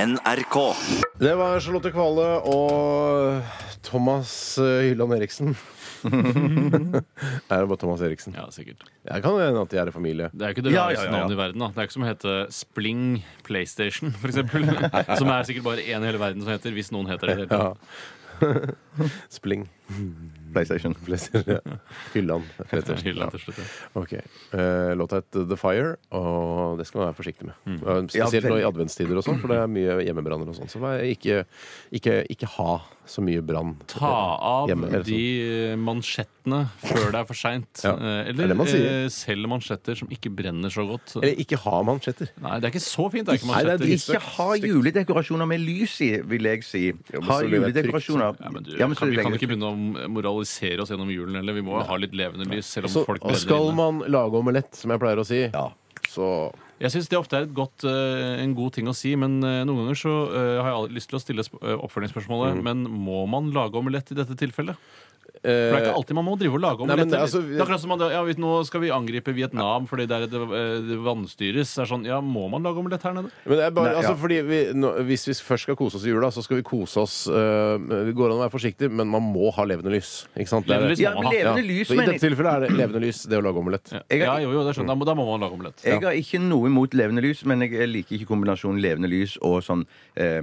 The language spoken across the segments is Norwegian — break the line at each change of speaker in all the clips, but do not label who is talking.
NRK.
Det var Charlotte Kvale og Thomas eh, Hylland Eriksen. er det bare Thomas Eriksen?
Ja, sikkert.
Jeg kan hende at de er i familie.
Det er jo ikke det
Ja,
rareste
ja, ja, ja.
navnet i verden. da Det er ikke som å hete Spling PlayStation, f.eks. som er sikkert bare én i hele verden som heter, hvis noen heter det.
Ja. Spling.
PlayStation.
Leser Hylland.
Det
Leser.
er hylla til slutt, ja.
Ok. Eh, låta het The Fire, og det skal man være forsiktig med.
Mm.
Eh,
Ja,
Spesielt nå i
veldig.
adventstider og sånn, for det er mye hjemmebranner og sånn. Så vær- ikke, ikke, ikke ha så mye brann.
Ta av
Hjemme, eller sånn.
de eh, mansjettene før det er for seint.
Ja, det er
Eller
det man sier.
eh, selg mansjetter som ikke brenner så godt.
Eller ikke ha mansjetter.
Nei, det er ikke så fint. Det er ikke
Nei, det er
mansjetter.
dritstygt.
Ikke ha juledekorasjoner med lys i, vil jeg si. Ha
så blir det
juledekorasjoner
Ja, men du,
Ja, men så
kan, vi kan
legger-
ikke begynne å moralisere oss gjennom julen heller. Vi må ha litt levende lys. selv om
Så,
folk
og
brenner
skal
inne.
man lage omelett, som jeg pleier å si, så
Jeg syns det ofte er et godt, eh, en god ting å si, men eh, noen ganger så eh, har jeg aldri lyst til å stille sp- eh,
Mm.
oppfølgingsspørsmålet Men må man lage omelett i dette tilfellet? For
eh,
det er
Eh,
ikke alltid man må drive og lage
Nei,
omelett.
men altså, vi-
det er akkurat som man, ja, vi- Nå skal vi angripe Vietnam fordi der det, eh, det vannstyres. Det er sånn, ja, Må man lage omelett her nede?
Men det er bare,
Nei, ja.
altså, fordi vi, nå, Hvis vi først skal kose oss i jula, så skal vi kose oss øh, Det går an å være forsiktig, men man må ha levende lys. Ikke sant? Det er-
Levende lys
Ja,
må
men
man ha.
levende lys,
Så I
men
dette tilfellet er det levende lys, det å lage omelett.
Ja,
Jeg
ja
har-
jo, jo, det skjønner jeg. Da må- Da må man lage omelett.
Jeg har ikke noe imot levende lys, men jeg liker ikke kombinasjonen levende lys og sånn eh,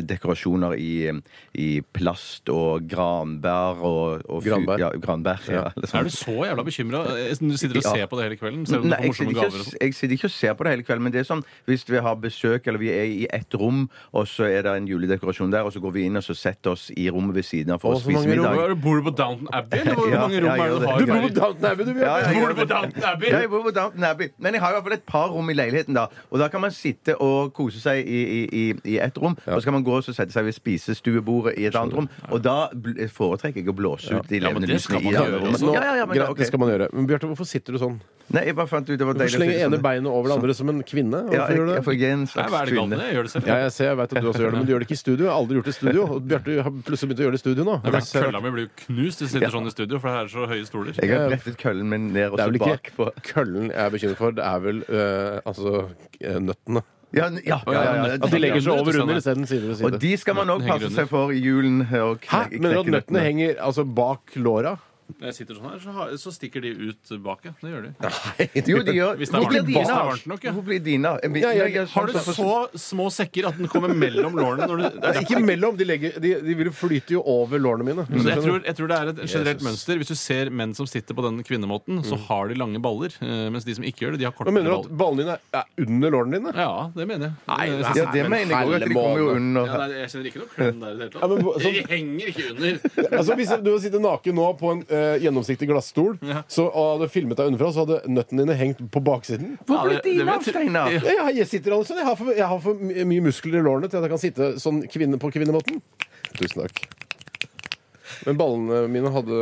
dekorasjoner i, i plast og granbær og, og fu-
Granbær?
Ja, granbær ja, eller sånn.
Er du så jævla bekymra? Du sitter og
Ja.
ser på det hele kvelden? Selv om
Nei,
du får
jeg
morsomme
sitter,
gaver og
ikke,
sånn.
jeg sitter ikke og ser på det hele kvelden, men det er sånn hvis vi har besøk, eller vi er i ett rom, og så er det en juledekorasjon der, og så går vi inn og så setter oss i rommet ved siden av for
Å,
å
så
spise
mange rom.
middag.
Hva er det, Bor du på Downton Abbey? Eller hvor
Ja,
mange rom
ja, jeg
er det
gjør
du
det.
har?
Du
i
bor på
Berlin?
Downton Abbey, du!
Ja, ja,
Bjørn.
ja.
Bor du på Downton Abbey?
Ja, jeg bor på Downton Abbey. Men jeg har i hvert fall et par rom i leiligheten, da. Og da kan man sitte og kose seg i, i, i, i ett rom. Og så kan man gå og så sette seg ved spisestuebordet i et annet rom. Og da bl- eh, foretrekker jeg å blåse ut de
Ja, men
levende
det skal
lysene i
man
det
gjøre
andre rommet.
Nå,
Ja, ja, ja, men,
greit,
ok.
det skal man gjøre. Men Bjarte, hvorfor sitter du sånn?
Nei, jeg bare fant ut det var
Du
deilig å
slenger
sitte
ene
sånn.
beinet over det andre som en kvinne.
Ja,
Hvorfor
jeg,
gjør du
jeg,
det?
for jeg er en
Nei, hva er
slags
det galt med
kvinne.
det? Jeg gjør det selv.
Ja, jeg ser, jeg vet at du også gjør det, men du gjør det ikke i studio. Jeg har aldri gjort det i studio. Og Bjarte har plutselig begynt å gjøre det i studio nå.
Nei, men
Det er-
Kølla mi blir jo knust. Det sitter sånn i studio, for det er så høye stoler.
Jeg har brettet køllen min ned og
Det
så
er vel
bak på
ikke køllen jeg er bekymret for, det er vel øh, altså eh, nøttene.
Ja, n- ja, ja, ja, ja.
At de legger seg
Under,
over
sånn
under
er.
isteden side ved
Og
side.
de skal man òg
Nøttene
passe
henger
seg for i julen. øh, Og kne-
Hæ? Mener du at
knekke
nøttene henger altså bak låra?
Når jeg sitter sånn her, så, har- så stikker de ut bak, ja. Det gjør de.
Jo, de gjør
Hvis det er
Hvor blir
varmt-
dine
hvis det er
av?
varmt nok, ja.
Hvor blir dine sånn av? Jeg-
Ja, ja,
jeg-
Har du så små sekker at den kommer mellom lårene? Når du, det er
Nei, ikke mellom. De, legger, de, de vil jo flyte jo over lårene mine.
Så jeg tror, jeg tror det er et generelt
Jesus.
mønster. Hvis du ser menn som sitter på den kvinnemåten, så har de lange baller. eh, Mens de som ikke gjør det, de har
Hva
kortere
mener du at
baller.
ballene dine er- er under lårene dine?
Ja, det mener jeg. jeg
Ja,
synes-
det mener jeg òg, at de kommer jo
Hellemåne.
under.
Ja, nei, jeg kjenner ikke noe klem der i det hele
Ja,
tatt.
men hva- sånn-
De henger ikke under.
Altså, hvis du hadde sittet naken nå på en eh, gjennomsiktig glassstol
Ja.
så, og hadde filmet deg underfra, så hadde nøttene dine hengt på baksiden.
Hvor
Ja,
blir
det- det
dine
vet
av,
jeg.
Steinar?
Ja.
Jeg, jeg sitter alle sånn. Jeg har for, jeg har for my- mye muskler i lårene til at jeg kan sitte sånn kvinne på kvinnemåten. Tusen takk. Men ballene mine hadde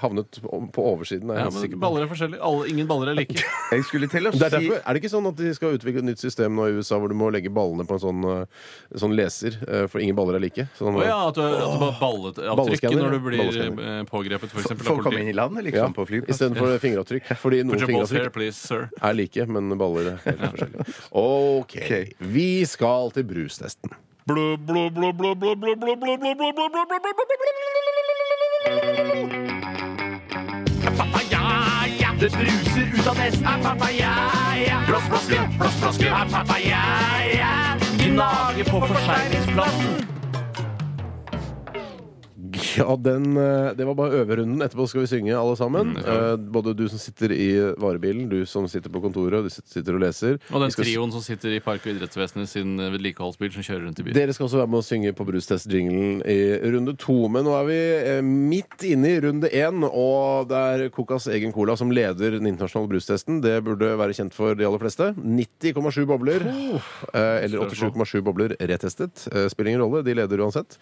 havnet på på oversiden. Er jeg
Ja,
helt sikker
men
på.
baller er forskjellige. Alle, ingen baller er like.
Jeg skulle til å
Det er,
si
derfor, er det ikke sånn at de skal utvikle et nytt system nå i USA hvor du må legge ballene på en sånn, eh, sånn leser, eh, for ingen baller er like? Sånn,
Å ja, at du, at du bare ballet avtrykket
Balleskanner,
når du blir
balleskanner.
eh, pågrepet, f.eks. av
For å komme inn
politiet.
i landet,
eh, ja,
liksom, på flyplassen.
Istedenfor fingeravtrykk. Fordi
Put
noen
your balls
fingeravtrykk
here, please, sir.
er like, men baller er helt forskjellige. OK.
Ok.
Vi skal til brustesten.
Det bruser ut av nesten Er papaya Blåsflaske, blåsflaske Er papaya Gnage på forskjæringsplassen
Ja, den, eh, det var bare øverunden. Etterpå skal vi synge, alle
Mm,
sammen. Eh, Både du som sitter i varebilen, du som sitter på kontoret, og du som sitter og leser. Vi
Og den
skal s-
trioen som sitter i Park- og idrettsvesenet sin eh, vedlikeholdsbil som kjører rundt i byen.
Dere skal også være med å synge på brustest-jinglen i runde to. Men nå er vi eh, midt inne i runde én, og det er Cocas egen cola som leder den internasjonale brustesten. Det burde være kjent for de aller fleste. 90,7 bobler.
Oh,
eh, Eller 87,7 bobler retestet. Eh, Spiller ingen rolle, de leder uansett.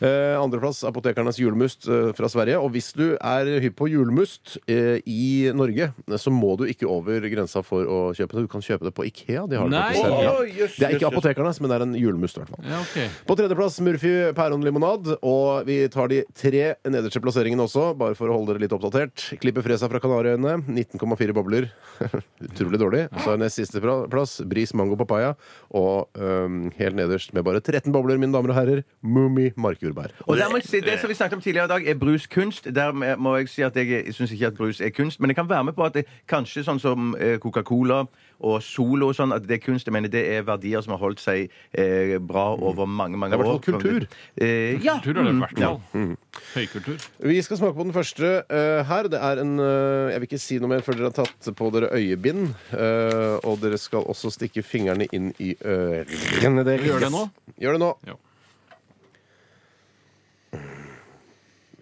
Eh, Andreplass Apotekerne Sandnes julmust eh, fra Sverige. Og hvis du er hypp på julmust eh, i Norge, så må du ikke over grensa for å kjøpe det. Du kan kjøpe det på Ikea. De har det
Nei!
faktisk selv. Ja.
Oi, jøss,
Det er ikke
jøss, jøss.
apotekernes, men det er en julmust, i hvert fall.
Ja, ok.
På tredjeplass Murphy pæronlimonad. Og vi tar de tre nederste plasseringene også, bare for å holde dere litt oppdatert. Klippe Fresa fra Kanariøyene. 19,4 bobler. Utrolig dårlig. Så er nest siste pra- plass Bris mango papaya. Og øhm, helt nederst med bare 13 bobler, mine damer og herrer, Mummi markjordbær.
Og der må jeg si, Det som vi snakket om tidligere i dag, er brus kunst. Der må jeg si at jeg syns ikke at brus er kunst, men jeg kan være med på at det, kanskje sånn som eh, Coca-Cola og Solo og sånn, at det er kunst. Jeg mener, det er verdier som har holdt seg eh, bra over mange, mange
Det er i hvert
år.
fall kultur.
Eh, ja.
Kultur er det i hvert
Ja.
fall.
Mm.
Høykultur.
Vi skal smake på den første eh, her. Det er en eh, Jeg vil ikke si noe mer før dere har tatt på dere øyebind. eh, og dere skal også stikke fingrene inn i ørene deres.
Gjør det nå?
Gjør det nå.
Ja.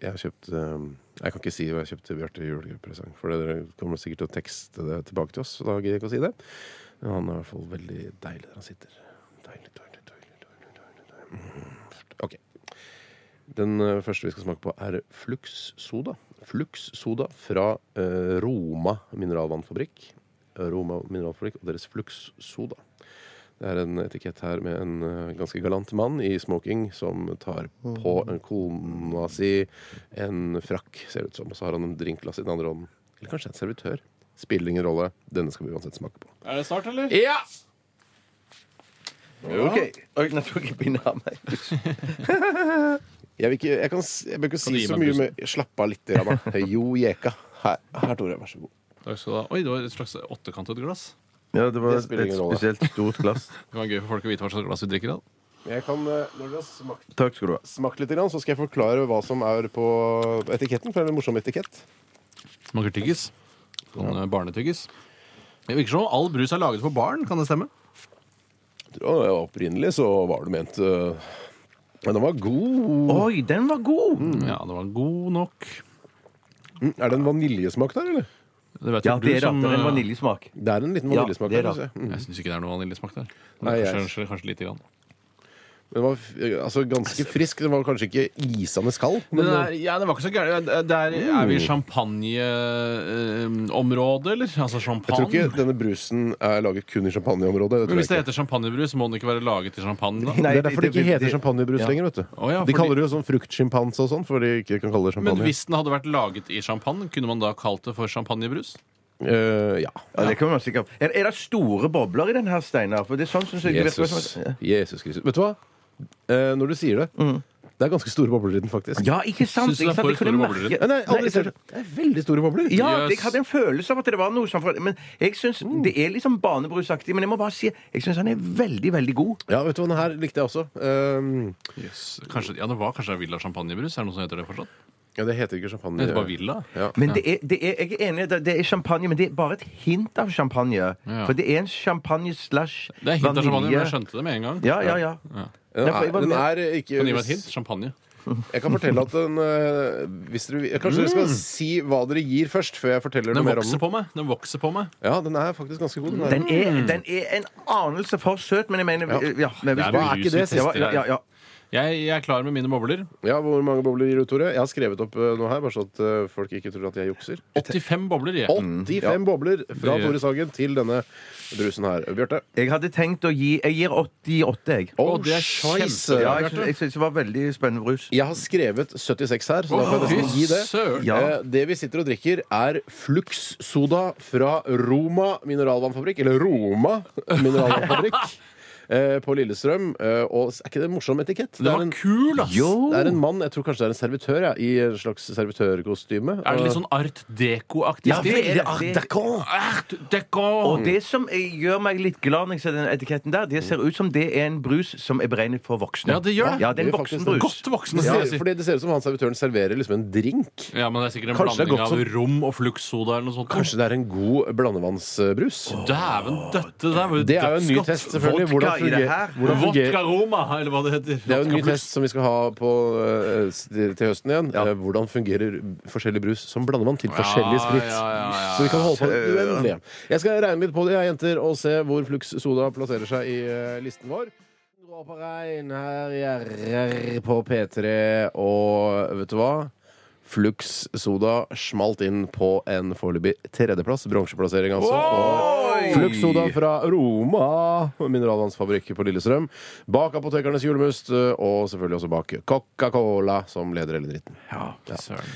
Jeg har kjøpt eh, Jeg kan ikke si hva jeg kjøpte Bjarte i julepresang, for dere kommer sikkert til å tekste det tilbake til oss. Så da gidder jeg ikke å si det. Men han er i hvert fall veldig deilig der han sitter. Deilig, deilig, deilig, deilig, deilig, deilig. Mm. Ok. Den eh, første vi skal smake på, er Flux Soda. Flux Soda fra eh, Roma mineralvannfabrikk. Roma mineralfabrikk og deres Flux Soda. Det er en etikett her med en eh, ganske galant mann i smoking som tar på en kona si, en frakk, ser det ut som, og så har han en drinkglass i den andre hånden. Eller kanskje en servitør. Spiller ingen rolle. Denne skal vi uansett smake på.
Er det snart, eller?
Ja!
OK. Oi, nå tok jeg bindet av meg.
Jeg, vil ikke, jeg, kan, s- jeg bør ikke
du
si
gi
så
meg
mye, men slapp av litt. Rama. Jo, jeka. Her, her Tore. Vær så god.
Takk skal du ha. Oi, det var et slags åttekantet glass.
Ja, det var
Det spiller
et
ingen rolle.
spesielt stort glass.
Det kan være gøy for folk å vite hva slags glass vi drikker av.
Jeg kan, eh, når dere har smakt,
Takk skal du ha.
smakt litt, grann, så skal jeg forklare hva som er på etiketten. For det er en morsom etikett.
Smaker tyggis. Sånn eh, barnetyggis. Det virker som om all brus er laget for barn. Kan det stemme?
Jeg tror, eh, Opprinnelig så var det ment eh, Men den var god.
Oi, den var god!
Ja, det var god nok.
Mm, Er det en vaniljesmak der, eller?
Det vet
Ja,
jo du
det er, det.
som
det er en
eh,
vaniljesmak.
Det er en liten
Ja,
vaniljesmak
det
der.
er det.
synes jeg. Mm.
Jeg syns ikke det er noe vaniljesmak der.
Nei, jeg-
Kanskje, kanskje lite grann.
Men Den var f- altså, ganske frisk. Den var kanskje ikke isende skald. Men,
Men det, er, ja, det var ikke så gærent. Det er- det er- Er vi i champagneområdet, eller? Altså
jeg tror ikke
champagne?
denne brusen er laget kun i champagneområdet. Det
Men
tror
hvis det
jeg ikke.
heter champagnebrus, må den ikke være laget i champagne? da?
Nei,
Det er derfor det
det-
ikke heter
det-
champagnebrus
ja.
lenger. vet du
Å
De
ja, fordi-
kaller det jo sånn fruktsjimpanse og sånn, for de ikke kan kalle det
Men
champagne.
hvis den hadde vært laget i champagne, kunne man da kalt det for champagnebrus?
Eh, ja.
Ja, det kan man sikkert. Er, er det store bobler i den her, Steinar? For det er sånn som det virker som
Jesus.
at- Ja.
Jesus Kristus. Vet du hva? Eh, når du sier det
Mm.
Det er ganske store bobler i den, faktisk. Eh,
Ja, ikke sant?
Syns du det er
ikke sant?
for
Jeg kunne
store bobler i
merke-
Nei, nei, aldri
Nei, altså,
sett det. Det er veldig store bobler.
Ja,
Yes.
jeg hadde en følelse av at det var noe sånn for- Men jeg syns
Mm.
det er litt sånn banebrusaktig. Men jeg må bare si jeg syns han er veldig, veldig god.
Ja, vet du hva, den her likte jeg også. Eh,
Yes. Kanskje, ja, det var kanskje Villa champagnebrus? Er det noe som heter det fortsatt?
ja, det heter ikke champagne.
Det heter bare Villa.
Ja.
Men det er, det er, jeg er enig, i det det er champagne, men det er bare et hint av champagne.
Ja.
For det er en champagne slash
Det er hint av champagne, men jeg skjønte det med en gang.
Ja, ja, ja.
Den
Derfor,
er,
jeg var
den
med-
er ikke
Kan du gi meg et hint? Champagne.
Jeg kan fortelle at den eh, hvis dere, vil- Kanskje dere skal si hva dere gir først, før jeg forteller noe
Den
mer om
vokser
Mm. den.
på meg. Den vokser på meg.
Ja, den er faktisk ganske god. Den er.
Den er, den er en anelse for søt, men jeg mener ja. men hvis
Mm. Det er
du-
hva er ikke det,
Ja, ja, ja, ja.
Jeg, jeg er klar med mine bobler.
Ja, Hvor mange bobler gir du, Tore? Jeg har skrevet opp eh, noe her, bare så at eh, folk ikke tror at jeg jukser. Mm.
85 bobler, jeg.
85 bobler fra
Det-
Tore Sagen til denne brusen her. Bjarte?
Jeg hadde tenkt å gi Jeg gir 88, jeg.
Å,
det er kjempe-
Ja, jeg, syns- jeg syns det var veldig spennende brus.
Jeg har skrevet 76 her, så da får jeg
Fy
nesten gi det.
søren.
Ja.
Eh, Det vi sitter og drikker, er Flux Soda fra Roma mineralvannfabrikk. Eller Roma mineralvannfabrikk eh, på Lillestrøm. Eh, Og er ikke det en morsom etikett?
Den
Det
var
er en,
kul, ass!
det er en mann, jeg tror kanskje det er en servitør, ja, i en slags servitørkostyme.
Er det litt sånn art deco-aktig
Ja,
stil?
det er art deco.
Art deco!
Og det som eh, gjør meg litt glad når jeg ser den etiketten der, det ser ut som det er en brus som er beregnet for voksne.
Ja, det gjør det.
Ja, det er
Det
en
gjør faktisk
voksenbrus.
Godt
Ja,
voksne, skal jeg si.
fordi Det ser ut som han servitøren serverer liksom en drink.
Ja, men det er sikkert en
Kanskje det er
blanding
godt
av rom og fluktsoda eller noe sånt.
Kanskje det er en god blandevannsbrus?
Dæven døtte! Det er jo,
Det er jo en ny
dødsgodt.
test, selvfølgelig.
Vodka
Hvordan
i det her.
fungerer, hvordan fungerer
Vodka Roma, eller hva det heter.
Det er jo en ny
Vodka Flux.
test som vi skal ha på, eh, s- til høsten igjen. Eh, Hvordan fungerer forskjellig brus som blander man til forskjellig sprit?
ja, ja, ja, ja.
Så vi kan holde på uendelig. Jeg skal regne litt på det, jeg, jenter, og se hvor Flux Soda plasserer seg i eh, listen vår. Dråper regn her i RR på P3, og vet du hva? Flux Soda smalt inn på en foreløpig tredjeplass. Bronseplassering, altså. for Flux Soda fra Roma mineralvannsfabrikk på Lillestrøm. Bak Apotekernes julemust, eh, og selvfølgelig også bak Coca-Cola, som leder hele dritten.
Søren.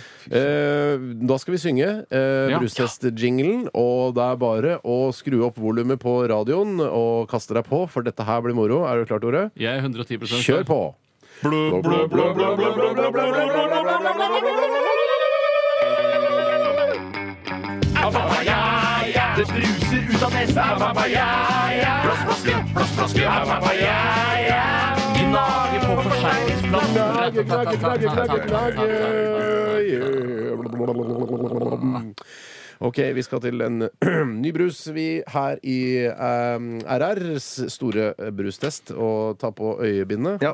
Eh, da skal vi synge eh,
Ja.
brustest-jinglen, og det er bare å skru opp volumet på radioen og kaste deg på, for dette her blir moro. Er du klar, Tore?
Jeg er 110
Kjør på!
Apapaya, det bruser ut av nesen. Apapaya, plastflaske, plastflaske. Apapaya, gnager på
Klage, klage, klage, klage, klage.
forseglingsplassen.
OK, vi skal til en ny brus, vi her i eh, RRs store brustest. Og ta på øyebindet.
Ja.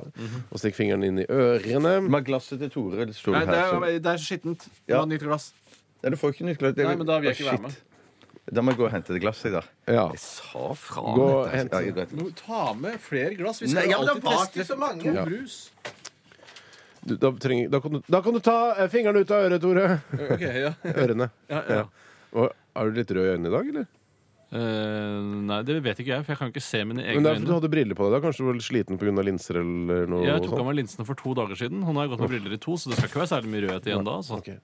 Og stikk fingeren inn i ørene.
Men glasset til Tore det står
Nei, det
her. så-
er, Eh, det er skittent.
Ja.
Ja. Nytt glass.
Nei, du får ikke nytt glass. Det-
Nei, men da vil jeg ikke
Å,
være med.
shit. Da må jeg gå og hente det glasset, da.
Ja.
Sa fra
Gå
om
og
dette.
hent-
Ja, jeg vet.
Du må ta med flere glass. Vi
Nei,
skal
ja, men det
alltid
var
teste
ikke så mange.
to
Ja.
brus.
Du, da, trenger, da, kan du, da kan du ta eh, fingrene ut av øret, Tore.
Ok, ja.
Ørene.
Ja, ja.
Og, er du litt rød i øynene i dag, eller?
Eh, nei, det vet ikke jeg, for jeg kan ikke se mine
Men det
egne
er fordi du
øyne.
hadde briller på deg. da Kanskje du var litt sliten pga. linser eller noe?
Jeg tok
sånt?
av meg linsene for to dager siden, og nå har jeg gått med briller i to, så det skal ikke være særlig mye rødhet igjen da. Altså.
Ok.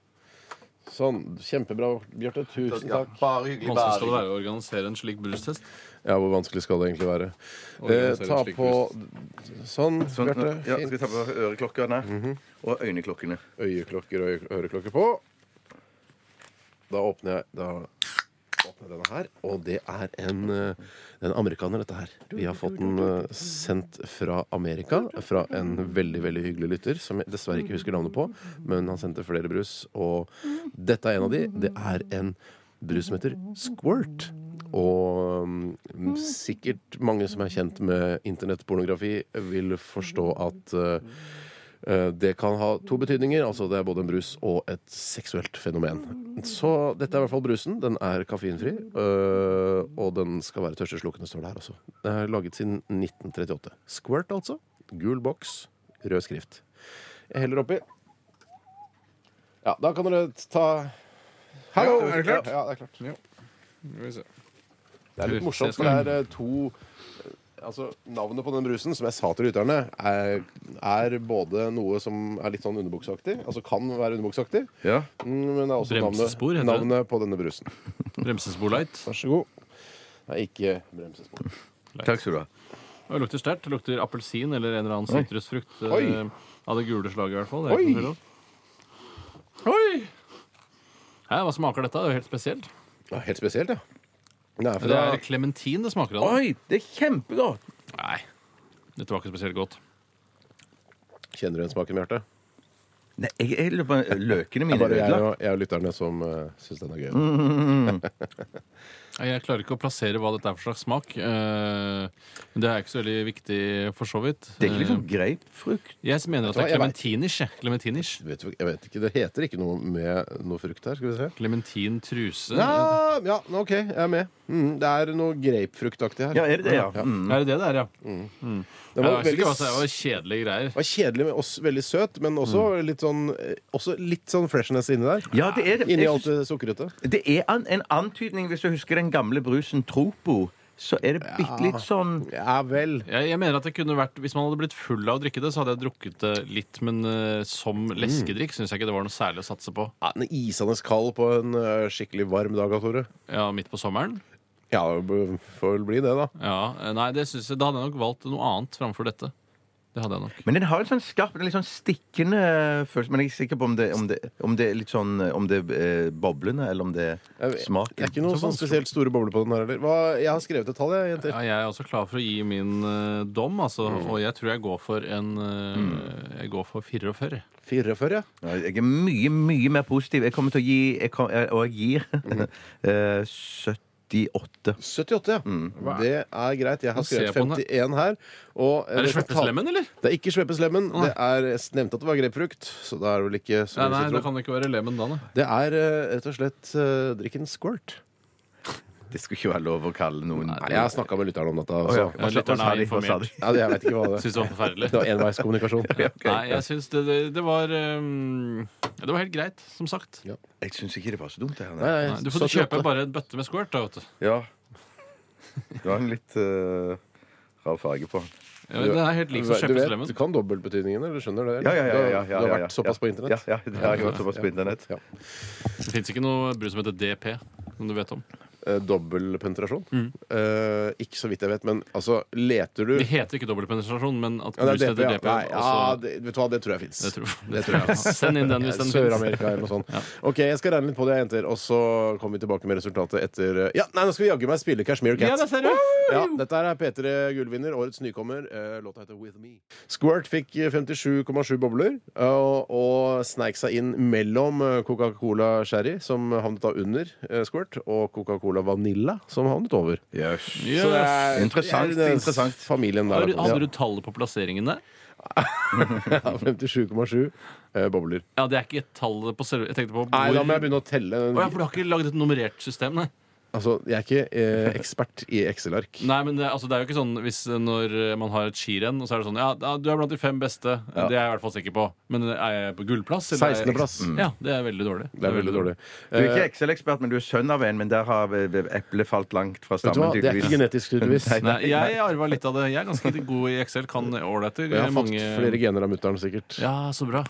Sånn. Kjempebra, Bjarte. Tusen
Ja,
takk.
bare hyggelig.
Vanskelig
Bare
skal det
hyggelig.
være å organisere en slik brustest.
Ja, Hvor vanskelig skal det egentlig være? Eh,
Organisere
ta
en slik
på Sånn,
Sånn,
Bjarte.
ja, Mhm. skal vi
Fint.
ta på øreklokkene og øyneklokkene?
Øyeklokker og øye- øreklokker på. Da åpner jeg Da åpner jeg denne her. Og det er en, eh, det er en amerikaner, dette her. Vi har fått den eh, sendt fra Amerika. Fra en veldig veldig hyggelig lytter som jeg dessverre ikke husker navnet på. Men han sendte flere brus, og dette er en av de. Det er en brus som heter Squirt. Og mm, sikkert mange som er kjent med internettpornografi, vil forstå at eh, Eh, Det kan ha to betydninger. altså Det er både en brus og et seksuelt fenomen. Så dette er i hvert fall brusen. Den er kaffeinfri. eh, Og den skal være tørsteslukende, står det her også. Den er laget siden 1938. Squirt, altså. Gul boks, rød skrift. Jeg heller oppi. Ja, da kan dere ta Hallo!
Ja, er det klart?
Ja, det er klart.
Skal
Det er litt morsomt, for det er eh, to eh, Altså, Navnet på den brusen, som jeg sa til lytterne, er, er både noe som er litt sånn underbukseaktig, altså kan være underbukseaktig,
Ja.
mm, men det er også navnet,
Bremsespor heter det.
navnet på denne brusen.
Bremsesboleit.
Vær så god. Nei, ikke bremsespor.
Takk skal du ha.
Og Det lukter sterkt. Det lukter appelsin eller en eller annen sitrusfrukt. eh,
Oi.
Av det gule slaget, i hvert fall. Det
Oi.
er ikke noe tvil om. Hæ, hva smaker dette? Det er jo helt spesielt.
Ja, helt spesielt, ja. Nei, for
Det
det
er
er,
klementin det smaker av.
Oi, det er kjempegodt!
Nei, dette var ikke spesielt godt.
kjenner du igjen smaken, Bjarte?
Nei, jeg, jeg lurer på Løkene
Det er
mine er
bare jeg
ødelagt.
og, jeg og lytterne som uh, syns den er gøy.
Nei, Jeg klarer ikke å plassere hva dette er for slags smak. eh, Men det er ikke så veldig viktig, for så vidt.
Det er ikke liksom
Eh,
grapefrukt.
Jeg mener at det
Vet du hva,
er klementinish. jeg. Klementinish.
Vet, du- jeg vet ikke, Det heter ikke noe med noe frukt her. Skal vi se.
Klementin truse.
Ja, ja, OK, jeg er med. Mm, det er noe grapefruktaktig her.
Ja, er det det? Ja. Mm.
Er det det det er, ja?
Det
Jeg
var
vet ikke
veldig
hva som er- det var kjedelige greier.
var kjedelig, men også veldig søt. Men også, litt, sånn, eh, også litt sånn freshness inni der.
Mm. ja, det er det.
Inni
Jeg
alt
synes-
det sukkerete.
Det er an, en antydning, hvis du husker den gamle brusen Tropo, så er det bitte litt sånn
Ja vel.
Jeg, jeg mener at det kunne vært, Hvis man hadde blitt full av å drikke det, så hadde jeg drukket det litt, men eh, som
Mm.
leskedrikk syns jeg ikke det var noe særlig å satse på.
Ja, den er isende kald på en eh, skikkelig varm dag, Tore.
Ja, Midt på sommeren.
Ja, det b- får vel bli det, da.
Ja, eh, nei, det synes jeg, Da hadde jeg nok valgt noe annet framfor dette. Det hadde jeg nok.
Men den har en sånn skarp, en litt sånn stikkende følelse. Men jeg er ikke sikker på om det, om det, om det er litt sånn eh, Om det er eh, boblende, eller om det er
Jeg- Det er
smaken.
ikke noe
Så
sånn
vanskelig.
spesielt store bobler på den her heller. Hva, jeg har skrevet et tall, jeg, jenter.
Ja, jeg er også klar for å gi min eh, dom, altså,
Mm.
og jeg tror jeg går for en eh, Jeg går for 44.
44, ja.
Ja, Jeg er mye, mye mer positiv. Jeg kommer til å gi, jeg kom, jeg- og jeg gir, eh, 78.
78, ja.
Mm.
Det er greit. Jeg har
se
skrevet
på den her.
51 her. Og, eh,
Er det
dette tall-
sveppeslemmen, eller?
Det er ikke sveppeslemmen.
Nei.
Det er, jeg nevnte at det var grapefrukt, så da er det vel ikke så
Nei,
mye
nei,
sitron.
det kan det ikke være lemen da, nei.
Det er eh, rett og slett eh, drikken squirt.
Det skulle ikke være lov å kalle noen
Nei, jeg har snakka med lytteren om dette.
Å,
Altså.
ja. Hva sa- hva
lytteren
sa
er
de? Hva sa de?
informert.
Ja, det- jeg vet ikke hva det
Syns det var forferdelig.
Det var enveiskommunikasjon.
Nei, jeg syns det, det, det var um, Det var helt greit, som sagt.
Ja.
Jeg syns ikke det var så dumt, det her.
Nei,
nei.
nei,
Nei, Du får
78.
kjøpe bare en bøtte med squirt, da, vet du.
Ja. Det var en litt eh, rar farge på den.
Ja, Den er helt lik som
du, vet,
kjøpeslemmen.
du kan dobbeltbetydningen, eller skjønner det?
Ja, ja, ja, ja, ja,
du har
ja, ja.
vært såpass på internett?
Ja, ja, det har jeg vært såpass på internett.
Ja.
Det fins ikke noe brus som heter DP, som du vet om.
Eh, Dobbel penetrasjon? Eh, ikke så vidt jeg vet, men altså, leter du
Mm. Det heter ikke dobbeltpenetrasjon, men at
Ja, det
brus
er DP,
heter
ja.
DP.
Nei,
og
ja,
så-
det, vet du hva, det tror jeg fins.
det tror, det tror jeg. Send inn den hvis den fins.
Sør-Amerika eller noe sånt. Ok, jeg skal regne litt på det, jenter, og så kommer vi tilbake med resultatet etter eh, Ja, nei, nå skal vi jaggu meg spille Cashmere Cat.
Ja, det ser du!
Ja, dette her er P3 Gullvinner, årets nykommer. Eh, Låta heter With Me. Squirt fikk eh, 57,7 bobler eh, og, og sneik seg inn mellom eh, Coca-Cola Sherry, som havnet da under eh, Squirt, og Coca-Cola Vanilla, som havnet over.
Yes.
Så det er-
Interessant,
det er den
interessant.
Familien der.
Har du-
altså.
Hadde du tallet på plasseringene?
Ja, 57,7 eh, bobler.
Ja, det er ikke tallet på selve Jeg tenkte på
Nei, da må
hvor
jeg begynne å telle.
Å ja, for du har ikke lagd et nummerert system, nei?
Altså, jeg er ikke eh, ekspert i Excel-ark.
Nei, men det, altså, det er jo ikke sånn hvis eh, når eh, man har et skirenn, og så er det sånn Ja, da- du er blant de fem beste. Det er jeg i hvert fall sikker på. Men eh, er jeg på gullplass? eller er jeg-
16.
Mm.
plass.
Ja, det er veldig dårlig.
Det er veldig dårlig.
Du
Eh,
er ikke Excel-ekspert, men du er sønn av en, men der har eh, eplet falt langt fra
Vet du hva,
stammen.
det er ikke
tydeligvis.
genetisk, tydeligvis.
Nei,
Nei, jeg arva litt av det. Jeg er ganske god i Excel, kan ålreiter.
Jeg har fått
mange-
flere gener av mutter'n, sikkert.
Ja, så bra.